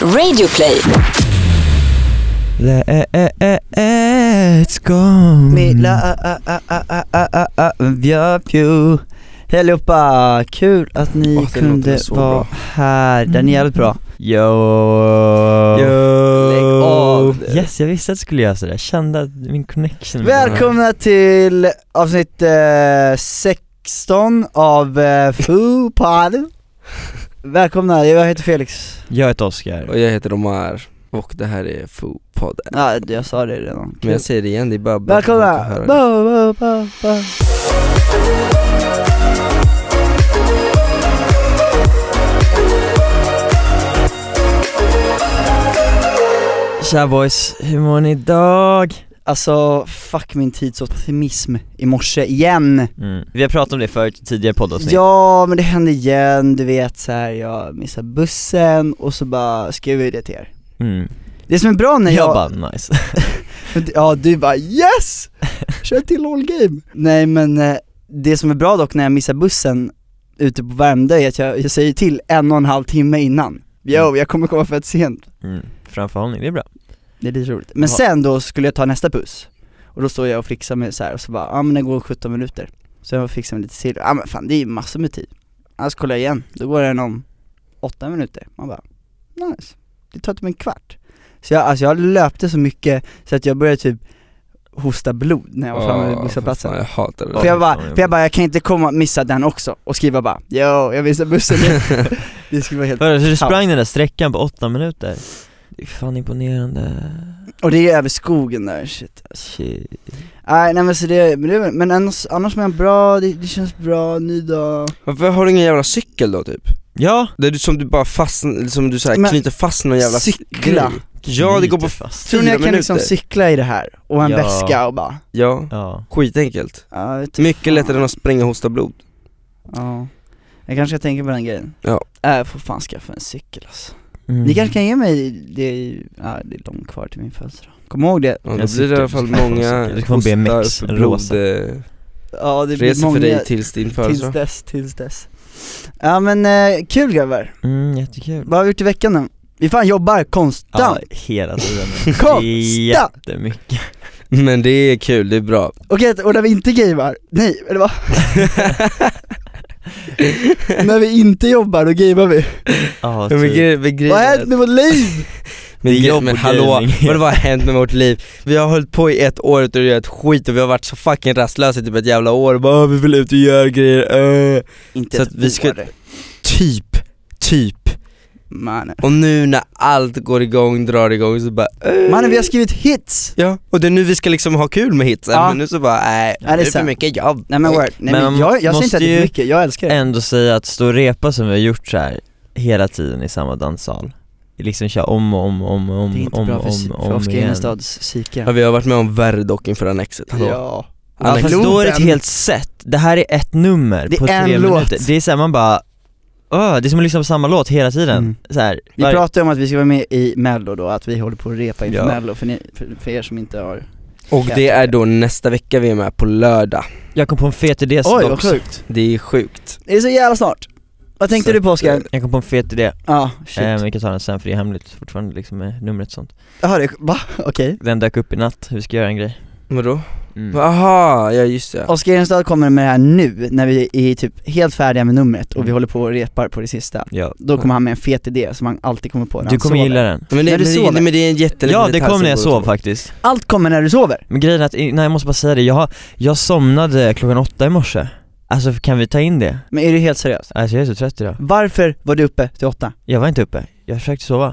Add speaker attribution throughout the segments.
Speaker 1: Radioplay.
Speaker 2: Let's go
Speaker 3: Mitt la- a- a- a- a- a- a- a- Björpju Hej allihopa, kul att ni
Speaker 4: Åh, det låter
Speaker 3: kunde
Speaker 4: så
Speaker 3: vara
Speaker 4: bra.
Speaker 3: här, den är jävligt bra Yo,
Speaker 4: Yo.
Speaker 3: Lägg av
Speaker 2: Yes, jag visste att du skulle göra sådär, jag kände att min connection
Speaker 3: Välkomna till avsnitt eh, 16 av eh, Foo Pod Välkomna, jag heter Felix
Speaker 2: Jag heter Oskar,
Speaker 4: Och jag heter Omar och det här är Foo-podden
Speaker 3: Ja, jag sa det redan
Speaker 4: Men jag säger det igen, det är bara bara för att
Speaker 3: Välkomna!
Speaker 4: höra det.
Speaker 3: Ba, ba, ba, ba.
Speaker 2: tja boys, hur mår ni idag?
Speaker 3: Alltså, fuck min tidsoptimism i morse igen
Speaker 2: Mm. Vi har pratat om det förut i tidigare poddavsnitt
Speaker 3: Ja men det hände igen, du vet så här, jag missar bussen och så bara skrev jag det till er
Speaker 2: mm.
Speaker 3: Det som är bra när
Speaker 2: jag,
Speaker 3: jag,
Speaker 2: bara nice
Speaker 3: ja du bara 'Yes! Kör till all game! Nej men eh, det som är bra dock när jag missar bussen ute på Värmdö är att jag, jag säger till en och en halv timme innan Jo, jag kommer komma fett sent
Speaker 2: mm. Framförhållning, det är bra
Speaker 3: Det är lite roligt Men
Speaker 2: Ja.
Speaker 3: sen då skulle jag ta nästa buss Och då står jag och flixar med så här och så bara, ja ah, men det går 17 minuter Så jag fixar mig lite till, ja ah, men fan det är ju massor med tid Annars kollar jag igen, då går den om 8 minuter Man bara, nice Det tar typ en kvart Så jag, alltså jag löpte så mycket så att jag började typ hosta blod när jag var framme vid
Speaker 4: Ja,
Speaker 3: busshållplatsen
Speaker 4: för fan, Jag hatar det
Speaker 3: för
Speaker 4: där.
Speaker 3: jag, bara, för jag bara, jag kan inte komma och missa den också och skriva bara 'Yo, jag missade bussen' Det skulle vara helt
Speaker 2: Hörru, så du
Speaker 3: kaos.
Speaker 2: sprang den där sträckan på åtta minuter? Det är fan imponerande
Speaker 3: Och det är över skogen där, shit
Speaker 2: Shit.
Speaker 3: Nej nej men så det, men, det, men annars, annars mår jag bra, det, det känns bra, ny dag
Speaker 4: Varför har du ingen jävla cykel då typ?
Speaker 2: Ja!
Speaker 4: Det är du- som du bara fastnar, som du så här
Speaker 3: Men-
Speaker 4: knyter fast någon jävla
Speaker 3: Cykla!
Speaker 4: grej. Ja det går på,
Speaker 2: Knyter fast
Speaker 3: Tror ni jag
Speaker 4: Fyra
Speaker 3: kan liksom
Speaker 4: minuter.
Speaker 3: cykla i det här? Och en
Speaker 2: Ja.
Speaker 3: väska och bara,
Speaker 4: ja,
Speaker 2: Ja,
Speaker 4: skitenkelt
Speaker 3: ja vet du
Speaker 4: Mycket
Speaker 3: fan.
Speaker 4: lättare än att springa och hosta blod
Speaker 3: Ja Jag kanske ska tänka på den grejen
Speaker 4: Ja.
Speaker 3: Äh, jag får fan skaffa en cykel alltså.
Speaker 2: mm.
Speaker 3: Ni kanske kan ge mig, det är ju, ja det är långt kvar till min födelsedag Kom ihåg det
Speaker 4: ja,
Speaker 2: En
Speaker 4: Då blir det i
Speaker 2: cykel.
Speaker 4: alla fall många
Speaker 2: Det kommer bli en
Speaker 4: hostar
Speaker 2: mix,
Speaker 4: för
Speaker 2: en
Speaker 4: blod,
Speaker 2: rosa.
Speaker 4: eh,
Speaker 3: Ja det blir
Speaker 4: Resor
Speaker 3: många
Speaker 4: för dig tills din
Speaker 3: tills
Speaker 4: födelsedag
Speaker 3: dess, tills dess Ja men eh, kul grabbar,
Speaker 2: Mm, jättekul
Speaker 3: vad har vi gjort i veckan nu? Vi fan jobbar
Speaker 2: Ja,
Speaker 3: konstant,
Speaker 2: hela tiden
Speaker 3: konstant!
Speaker 2: Jättemycket
Speaker 4: Men det är kul, det är bra
Speaker 3: Okej, och när vi inte gamear, nej, eller va? när vi inte jobbar, då gamear vi.
Speaker 2: Ja,
Speaker 4: Men
Speaker 2: typ.
Speaker 4: gre- men grejen
Speaker 3: Vad har
Speaker 4: är-
Speaker 3: hänt med vårt liv?
Speaker 4: Men,
Speaker 2: Det är jobb
Speaker 4: men
Speaker 2: och
Speaker 4: hallå,
Speaker 2: gaming.
Speaker 4: vad det har hänt med vårt liv? Vi har hållit på i ett år utan att göra ett skit och vi har varit så fucking rastlösa i typ ett jävla år och bara "Ah, vi vill ut och göra grejer, eh.
Speaker 3: Inte
Speaker 4: Så att vi ska-
Speaker 3: år.
Speaker 4: Typ, typ.
Speaker 3: Mannen,
Speaker 4: Och nu när allt går igång, drar igång så bara eh.
Speaker 3: Mannen, vi har skrivit hits!
Speaker 4: Ja, och det är nu vi ska liksom ha kul med hitsen
Speaker 3: Ja.
Speaker 4: men nu så bara nej,
Speaker 3: Ja, det är
Speaker 4: det är för
Speaker 3: sant.
Speaker 4: mycket jobb.
Speaker 3: Nej men word, nej
Speaker 2: Eh, Men
Speaker 3: men
Speaker 2: man
Speaker 3: jag, jag säger inte
Speaker 2: måste
Speaker 3: att det är
Speaker 2: ju-
Speaker 3: för mycket, jag älskar det
Speaker 2: Ändå säga att stå och repa som vi har gjort så här hela tiden i samma danssal Liksom köra om och om och om och om
Speaker 3: Det är inte
Speaker 2: om,
Speaker 3: bra för,
Speaker 2: om,
Speaker 3: för
Speaker 2: om
Speaker 3: Oskar
Speaker 2: igen.
Speaker 3: Enestads
Speaker 4: Ja,
Speaker 3: psyke
Speaker 4: vi har varit med om värre dock inför Annexet, hallå.
Speaker 3: Ja,
Speaker 2: Ja,
Speaker 4: Annex-
Speaker 2: fast då är det ett
Speaker 3: Globen.
Speaker 2: helt set, det här är ett nummer
Speaker 3: Det är
Speaker 2: på tre
Speaker 3: en låt.
Speaker 2: minuter Det är såhär man bara, öh, det är som att lyssna på samma låt hela tiden
Speaker 3: Mm.
Speaker 2: så här,
Speaker 3: vi
Speaker 2: varje-
Speaker 3: pratade om att vi ska vara med i mello då, att vi håller på att repa inför
Speaker 2: Ja.
Speaker 3: mello för, ni, för, för er som inte har
Speaker 4: Och det är då nästa vecka vi är med på lördag.
Speaker 2: Jag kom på en fet idé
Speaker 3: Oj vad
Speaker 2: dock.
Speaker 3: sjukt!
Speaker 4: Det är sjukt.
Speaker 3: Det är så jävla snart! Vad tänkte
Speaker 4: Så
Speaker 3: du på
Speaker 4: att, eh,
Speaker 3: Oskar?
Speaker 2: Jag kom på en fet idé,
Speaker 3: Ja,
Speaker 2: eh, men
Speaker 3: shit,
Speaker 2: vi kan ta den sen för det är hemligt fortfarande liksom med numret och sånt
Speaker 3: jaha det, va? Okej
Speaker 2: Den dök upp i natt, hur ska jag göra en grej?
Speaker 4: Vadå?
Speaker 2: Mm.
Speaker 4: Jaha, ja just det.
Speaker 3: Oskar Enestad kommer med det här nu, när vi är typ helt färdiga med numret och vi håller på och repar på det sista
Speaker 2: Ja.
Speaker 3: Då kommer han med en fet idé som han alltid kommer på när
Speaker 2: Du
Speaker 3: han
Speaker 2: kommer
Speaker 3: sover.
Speaker 2: gilla den
Speaker 4: Men det,
Speaker 3: När du
Speaker 4: men, det,
Speaker 3: sover.
Speaker 4: nej, men det är en jätteliten
Speaker 2: Ja det
Speaker 4: detalj
Speaker 2: kom
Speaker 4: som
Speaker 2: när jag
Speaker 4: går
Speaker 2: sov
Speaker 4: åt.
Speaker 2: faktiskt
Speaker 3: Allt kommer när du sover!
Speaker 2: Men grejen är att, nej jag måste bara säga det, jag, har- jag somnade klockan åtta i morse Alltså kan vi ta in det?
Speaker 3: Men är du helt seriös?
Speaker 2: Alltså jag är så trött idag
Speaker 3: Varför var du uppe till åtta?
Speaker 2: Jag var inte uppe, jag försökte sova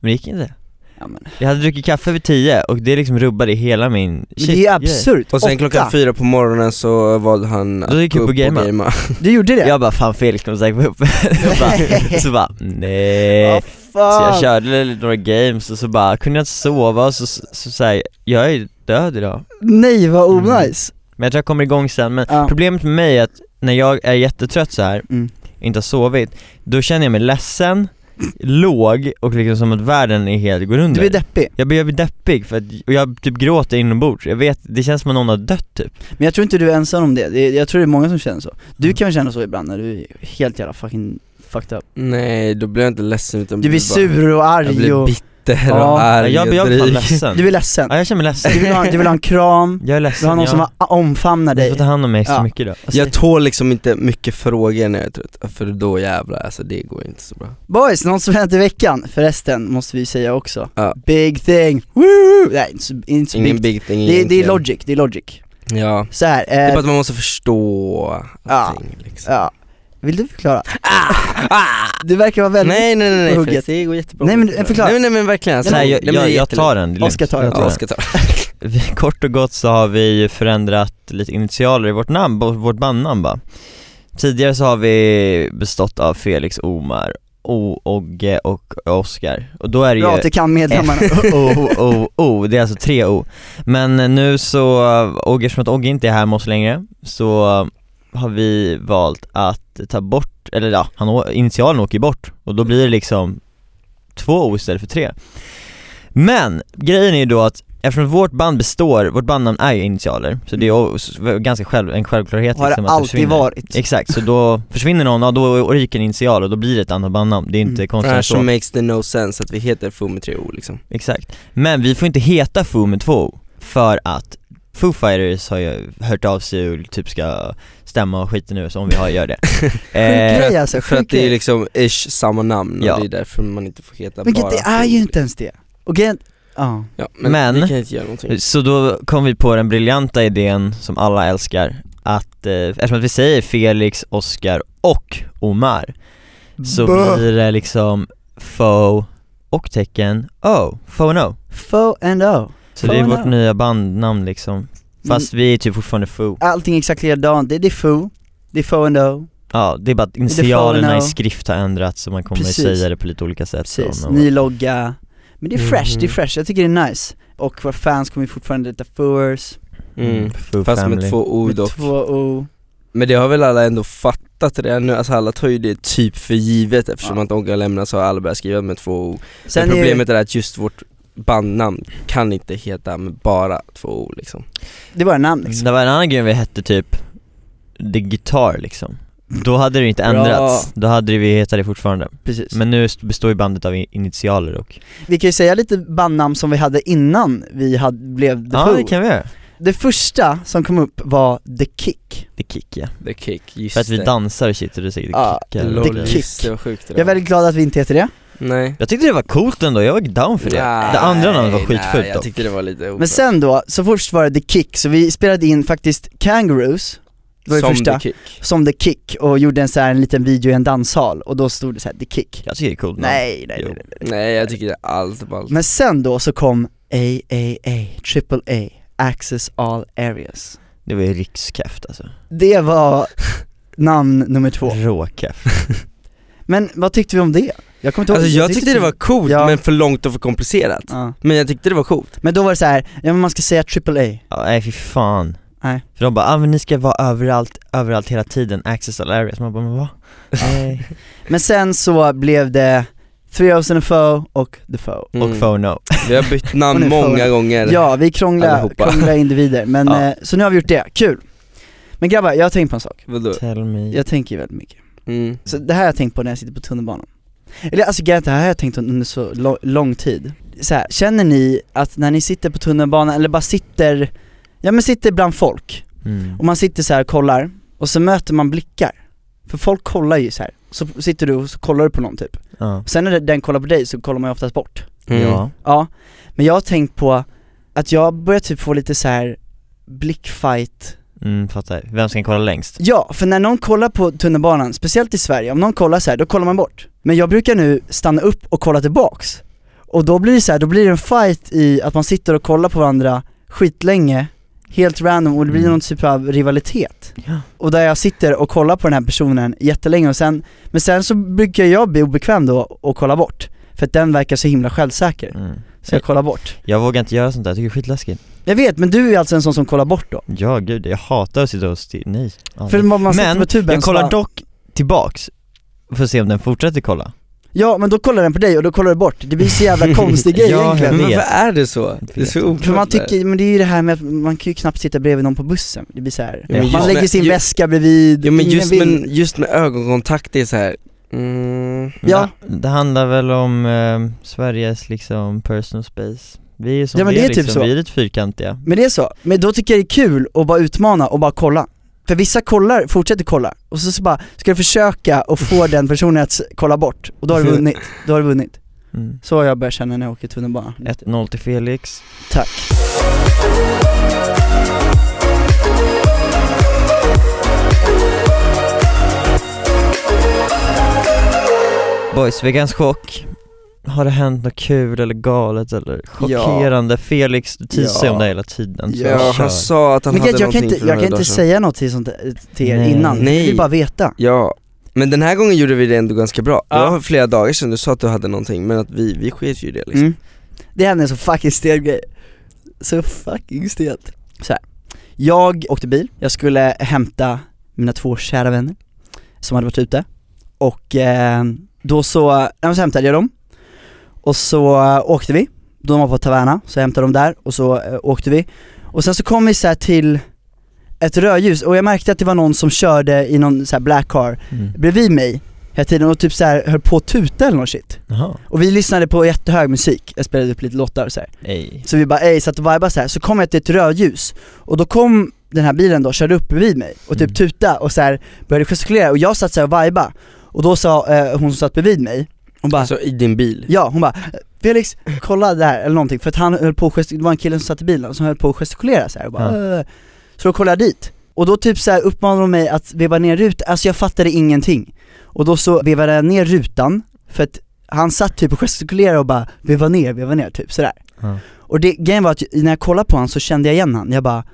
Speaker 2: Men det gick inte
Speaker 3: Ja, men, men
Speaker 2: Jag hade druckit kaffe vid tio och det liksom rubbade hela min
Speaker 3: det är ju
Speaker 2: grej.
Speaker 3: absurt!
Speaker 4: Och sen
Speaker 3: Åtta.
Speaker 4: klockan fyra på morgonen så valde han
Speaker 2: Då gick jag upp och gamea.
Speaker 3: Du gjorde det?
Speaker 2: Jag bara fan Felix kommer säkert vara uppe Så bara- Så bara nej
Speaker 3: Vad
Speaker 2: Så
Speaker 3: fan!
Speaker 2: jag körde några games och så bara kunde jag inte sova och så, så, så, här, jag är död idag
Speaker 3: Nej vad onajs!
Speaker 2: Men jag tror jag kommer igång sen men
Speaker 3: Ja.
Speaker 2: Problemet med mig är att när jag är jättetrött så här
Speaker 3: Mm.
Speaker 2: inte har sovit, då känner jag mig ledsen, låg och liksom som att världen är helt, går
Speaker 3: Du
Speaker 2: under
Speaker 3: blir deppig,
Speaker 2: jag blir, jag blir deppig för att, och jag typ gråter inombords, jag vet, det känns som att någon har dött typ
Speaker 3: men jag tror inte du är ensam om det, Det är- jag tror det är många som känner så Du
Speaker 2: Mm.
Speaker 3: kan väl känna så ibland när du är helt jävla fucking fucked up
Speaker 4: Nej, då blir jag inte ledsen utan
Speaker 3: Du blir
Speaker 4: bara-
Speaker 3: sur och
Speaker 4: Jag blir
Speaker 3: arg och,
Speaker 4: bitter
Speaker 3: Ja,
Speaker 4: och arg
Speaker 2: jag blir
Speaker 4: och
Speaker 2: jag fan
Speaker 4: dryg
Speaker 2: ledsen
Speaker 3: du blir ledsen
Speaker 2: Ja jag känner mig ledsen
Speaker 3: du, vill ha, du vill ha en kram,
Speaker 2: Jag är
Speaker 3: du vill
Speaker 2: ledsen,
Speaker 3: ha någon
Speaker 2: jag,
Speaker 3: som a- omfamnar
Speaker 2: du
Speaker 3: dig
Speaker 2: får ta hand om mig så
Speaker 3: Ja.
Speaker 2: mycket idag Alltså,
Speaker 4: Jag tål liksom inte mycket frågor när jag är trött, för då jävlar alltså det går inte så bra
Speaker 3: Boys, något som hänt i veckan förresten måste vi säga också
Speaker 4: Ja.
Speaker 3: Big thing, woo! Nej inte så, inte så
Speaker 4: Ingen
Speaker 3: big
Speaker 4: big thing
Speaker 3: det, det är
Speaker 4: egentligen.
Speaker 3: logic, det är logic
Speaker 4: Ja,
Speaker 3: Så här,
Speaker 4: det är
Speaker 3: eh,
Speaker 4: bara att man måste förstå
Speaker 3: Ja.
Speaker 4: allting liksom
Speaker 3: ja. Vill du förklara? Du verkar vara väldigt
Speaker 4: Ah! Nej nej nej,
Speaker 3: på
Speaker 4: nej
Speaker 3: hugget.
Speaker 4: för det går jättebra
Speaker 3: Nej, men förklara.
Speaker 4: Nej nej men verkligen alltså,
Speaker 2: så här,
Speaker 4: nej,
Speaker 2: jag,
Speaker 4: men det är
Speaker 2: jag, jag
Speaker 4: jättelätt.
Speaker 2: tar den, det är lugnt.
Speaker 3: Oskar tar den.
Speaker 2: Jag
Speaker 4: Ja, Oskar tar
Speaker 2: Vi, kort och gott så har vi förändrat lite initialer i vårt namn, bo- vårt bandnamn bara. Tidigare så har vi bestått av Felix, Omar, O, Ogge och Oskar. Och då är det
Speaker 3: bra
Speaker 2: ju
Speaker 3: att du kan medlemmarna
Speaker 2: O, O, O, det är alltså tre O. Men nu så, och eftersom att Ogge inte är här med oss längre, så har vi valt att ta bort, eller ja, han, å- initialen åker ju bort och då blir det liksom två O istället för tre. Men grejen är ju då att eftersom vårt band består, vårt bandnamn är ju initialer, så det är o- s- ganska själv, en självklarhet
Speaker 3: Mm. Har det
Speaker 2: liksom att det
Speaker 3: alltid
Speaker 2: försvinner.
Speaker 3: varit
Speaker 2: Exakt, så då försvinner någon, ja då ryker en initial och då blir det ett annat bandnamn, det är inte
Speaker 3: Mm.
Speaker 2: konstigt än
Speaker 4: Annars
Speaker 2: så.
Speaker 4: så Alltså, makes the no sense att vi heter Fumi 3O liksom
Speaker 2: Exakt. Men vi får inte heta Foo med två O, för att Foo Fighters har ju hört av sig och typ ska stämma och skiten nu så om vi har gör det.
Speaker 3: Sjuk
Speaker 2: eh,
Speaker 3: grej alltså,
Speaker 4: För
Speaker 3: sjuk
Speaker 4: att det är
Speaker 3: grej
Speaker 4: liksom ish samma namn och
Speaker 2: Ja.
Speaker 4: det är därför man inte får heta
Speaker 3: Vilket
Speaker 4: bara
Speaker 3: det är
Speaker 4: Fumi.
Speaker 3: ju inte ens det Och grejen, ja
Speaker 4: ja, men,
Speaker 2: Men-
Speaker 4: vi kan inte göra någonting
Speaker 2: så då kom vi på den briljanta idén som alla älskar att eh, eftersom att vi säger Felix, Oscar och Omar så
Speaker 3: Bö.
Speaker 2: blir det liksom Fo och tecken O, Fo and O.
Speaker 3: Fo and O
Speaker 2: Så det är
Speaker 3: Fo and
Speaker 2: vårt
Speaker 3: O. Mm.
Speaker 2: nya bandnamn liksom. Fast vi är typ fortfarande Foo.
Speaker 3: Allting är exakt likadant, det är det är Fo, det är Fo and O
Speaker 2: Ja, det är bara att initialerna
Speaker 3: now.
Speaker 2: i skrift har ändrats så man kommer
Speaker 3: Precis.
Speaker 2: säga det på lite olika sätt
Speaker 3: Precis,
Speaker 2: så,
Speaker 3: ny logga Men det är fresh, det är
Speaker 4: Mhm.
Speaker 3: fresh, jag tycker det är nice Och våra fans kommer ju fortfarande heta Foers
Speaker 4: mm.
Speaker 2: Foo
Speaker 4: Fast
Speaker 2: family
Speaker 4: med två O
Speaker 3: med
Speaker 4: dock
Speaker 3: två O
Speaker 4: Men det har väl alla ändå fattat redan nu, alltså alla tar ju det typ för givet eftersom
Speaker 3: Ja.
Speaker 4: att Ogge har lämnat så har alla börjat skriva med två O
Speaker 3: Sen
Speaker 4: Men
Speaker 3: är ju,
Speaker 4: problemet är att just vårt bandnamn kan inte heta med bara två O liksom
Speaker 3: det var namn liksom
Speaker 2: Det var en annan grej vi hette typ The Guitar liksom Då hade det inte
Speaker 4: Bra.
Speaker 2: ändrats, då hade vi hetat det fortfarande
Speaker 3: Precis
Speaker 2: Mm. Men nu st- består ju bandet av i- initialer och
Speaker 3: Vi kan ju säga lite bandnamn som vi hade innan vi hade, blev The
Speaker 2: Ja
Speaker 3: Foo
Speaker 2: Ah, det kan vi göra,
Speaker 3: Det första som kom upp var The Kick
Speaker 2: The Kick ja
Speaker 4: The Kick, just
Speaker 2: För att vi
Speaker 4: det.
Speaker 2: dansar och shit och du säger
Speaker 3: Ja,
Speaker 2: The Kick
Speaker 3: det
Speaker 2: eller
Speaker 4: Lol,
Speaker 2: vad
Speaker 3: The
Speaker 2: det är.
Speaker 3: Kick.
Speaker 4: Just det, vad sjukt det
Speaker 3: Jag är väldigt glad att vi inte heter det,
Speaker 4: Nej
Speaker 2: Jag tyckte det var coolt ändå, jag var down för det Det andra namnet var skitfult
Speaker 4: Jag
Speaker 2: dock
Speaker 4: tyckte det var lite
Speaker 3: men sen då, så först var det The Kick, så vi spelade in faktiskt Kangaroos, det var det
Speaker 4: Som
Speaker 3: första,
Speaker 4: The Kick
Speaker 3: som The Kick och gjorde en så här en liten video i en danshall och då stod det så här The Kick
Speaker 2: Jag tycker det är coolt namn.
Speaker 3: Nej, nej,
Speaker 2: Jo.
Speaker 3: nej, nej.
Speaker 4: Nej jag tycker det är allt ballt
Speaker 3: Men sen då så kom AAA, Triple A, Access All Areas
Speaker 2: Det var ju rikskeft alltså,
Speaker 3: Det var namn nummer två,
Speaker 2: råkeft
Speaker 3: men vad tyckte vi om det? Jag kommer inte ihåg
Speaker 4: Alltså jag tyckte det var coolt
Speaker 3: Ja.
Speaker 4: men för långt och för komplicerat
Speaker 3: ja.
Speaker 4: Men jag tyckte det var coolt
Speaker 3: Men då var det så här, ja men man ska säga AAA
Speaker 2: Ja, nej fy fan
Speaker 3: Nej.
Speaker 2: För de bara, ah, men ni ska vara överallt, överallt hela tiden, access all areas, man bara, men va? Nej.
Speaker 3: Men sen så blev det Three O's and a Foe och The Foe
Speaker 2: Och phone no
Speaker 4: Vi har bytt
Speaker 3: Och nu
Speaker 4: namn många
Speaker 3: får-
Speaker 4: gånger
Speaker 3: Ja, vi krånglar,
Speaker 4: Allihopa.
Speaker 3: krånglar individer, men
Speaker 2: Ja.
Speaker 3: eh, så nu har vi gjort det, kul! Men grabbar, jag har tänkt på en sak,
Speaker 4: Vadå?
Speaker 2: Tell me
Speaker 3: jag tänker väldigt mycket
Speaker 4: Mm.
Speaker 3: Så det här har jag tänkt på när jag sitter på tunnelbanan Eller alltså grejen är att det här har jag tänkt under så lo- lång tid så här, känner ni att när ni sitter på tunnelbanan eller bara sitter, ja men sitter bland folk
Speaker 2: mm.
Speaker 3: och man sitter så här och kollar och så möter man blickar För folk kollar ju så här. så sitter du och så kollar du på någon typ
Speaker 2: ja.
Speaker 3: Sen när den kollar på dig så kollar man ju oftast bort
Speaker 4: Mm.
Speaker 2: ja,
Speaker 3: Ja, men jag har tänkt på att jag börjar typ få lite så här blickfight
Speaker 2: mm, fattar, vem ska kolla längst?
Speaker 3: Ja, för när någon kollar på tunnelbanan, speciellt i Sverige, om någon kollar så här, då kollar man bort Men jag brukar nu stanna upp och kolla tillbaks Och då blir det så här, då blir det en fight i att man sitter och kollar på varandra skitlänge Helt random och det blir
Speaker 2: Mm.
Speaker 3: någon typ av rivalitet
Speaker 2: Ja.
Speaker 3: Och där jag sitter och kollar på den här personen jättelänge och sen Men sen så brukar jag bli obekväm då och kolla bort För att den verkar så himla självsäker,
Speaker 2: Mm.
Speaker 3: så jag kollar bort
Speaker 2: Jag vågar inte göra sånt där, jag tycker det är skitläskigt
Speaker 3: Jag vet, men du är alltså en sån som kollar bort då?
Speaker 2: Ja gud, jag hatar att sitta och stirra, nej
Speaker 3: För
Speaker 2: aldrig.
Speaker 3: man, man sitter
Speaker 2: Men,
Speaker 3: på tuben
Speaker 2: Jag
Speaker 3: så
Speaker 2: kollar
Speaker 3: bara,
Speaker 2: dock tillbaks, för att se om den fortsätter kolla
Speaker 3: Ja men då kollar den på dig och då kollar du bort, det blir så jävla konstig grej
Speaker 2: Ja,
Speaker 3: egentligen
Speaker 4: Men
Speaker 2: vet.
Speaker 4: varför är det så? Det är
Speaker 2: vet
Speaker 4: så
Speaker 2: inte.
Speaker 4: oklart
Speaker 3: För man
Speaker 4: det där.
Speaker 3: tycker, men det är ju det här med att man kan ju knappt sitta bredvid någon på bussen, det blir så här.
Speaker 4: Ja, men
Speaker 3: Man
Speaker 4: just
Speaker 3: lägger
Speaker 4: med-
Speaker 3: sin
Speaker 4: ju-
Speaker 3: väska bredvid,
Speaker 4: Ja men
Speaker 3: ingen
Speaker 4: just,
Speaker 3: vill-
Speaker 4: men just med ögonkontakt, det är så här. Mm.
Speaker 3: Ja.
Speaker 2: Det, det handlar väl om eh, Sveriges liksom personal space Vi är som
Speaker 3: Ja, men
Speaker 2: vi
Speaker 3: det är typ
Speaker 2: liksom,
Speaker 3: så.
Speaker 2: vi är lite fyrkantiga
Speaker 3: Men det är så, men då tycker jag det är kul att bara utmana och bara kolla. För vissa kollar, fortsätter kolla, och så, så bara, ska du försöka och få den personen att s- kolla bort, och då har du vunnit, då har du vunnit.
Speaker 2: mm.
Speaker 3: Så har jag börjat känna när jag åker tunnelbana.
Speaker 2: 1-0 till Felix
Speaker 3: Tack.
Speaker 2: Boys, veckans chock Har det hänt något kul eller galet eller chockerande? Felix, du teasar ju om
Speaker 3: Ja. alltså-
Speaker 2: det hela tiden så
Speaker 4: Ja,
Speaker 2: kör.
Speaker 4: han sa att han
Speaker 3: Men
Speaker 4: hade
Speaker 3: jag, jag kan
Speaker 4: någonting
Speaker 3: inte,
Speaker 4: för några
Speaker 3: jag kan
Speaker 4: dagar
Speaker 3: inte
Speaker 4: sedan.
Speaker 3: säga något till, sånt, till er
Speaker 2: Nej.
Speaker 3: innan, jag
Speaker 4: Nej.
Speaker 3: vill bara veta.
Speaker 4: Ja, men den här gången gjorde vi det ändå ganska bra. Det
Speaker 3: Ja.
Speaker 4: var flera dagar sedan du sa att du hade någonting, men att vi, vi sket ju i det liksom.
Speaker 3: Mm. Det hände en så fucking stel grej. Så fucking stelt. Så här. jag åkte bil, jag skulle hämta mina två kära vänner som hade varit ute och eh, då så, ja, men så hämtade jag dem och så eh, åkte vi, de var på Taverna, så jag hämtade dem där och så eh, åkte vi och sen så kom vi så här till ett rödljus och jag märkte att det var någon som körde i någon så här black car
Speaker 2: mm.
Speaker 3: bredvid mig hela tiden och typ så här höll på att tuta eller något shit
Speaker 2: Jaha,
Speaker 3: och vi lyssnade på jättehög musik, jag spelade upp lite låtar och så här.
Speaker 2: ej
Speaker 3: Så vi bara ey, satt och vibade så här. så kom jag till ett rödljus och då kom den här bilen då, körde upp bredvid mig och typ
Speaker 2: Mm.
Speaker 3: tuta och så här började gestikulera och jag satt så här och vibade och då sa eh, hon som satt bredvid mig, hon bara
Speaker 4: Alltså i din bil.
Speaker 3: Ja, hon bara Felix, kolla det här eller någonting, för att han höll på att gestik- det var en kille som satt i bilen som höll på att gestikulera så här, och bara, "Åh." Så då kollade jag dit, och då typ så här uppmanade de mig att veva ner rutan, alltså jag fattade ingenting Och då så vevade jag ner rutan, för att han satt typ och gestikulerade och bara veva ner, veva ner typ sådär
Speaker 2: Ja.
Speaker 3: Och det, grejen var att när jag kollade på honom så kände jag igen han, jag bara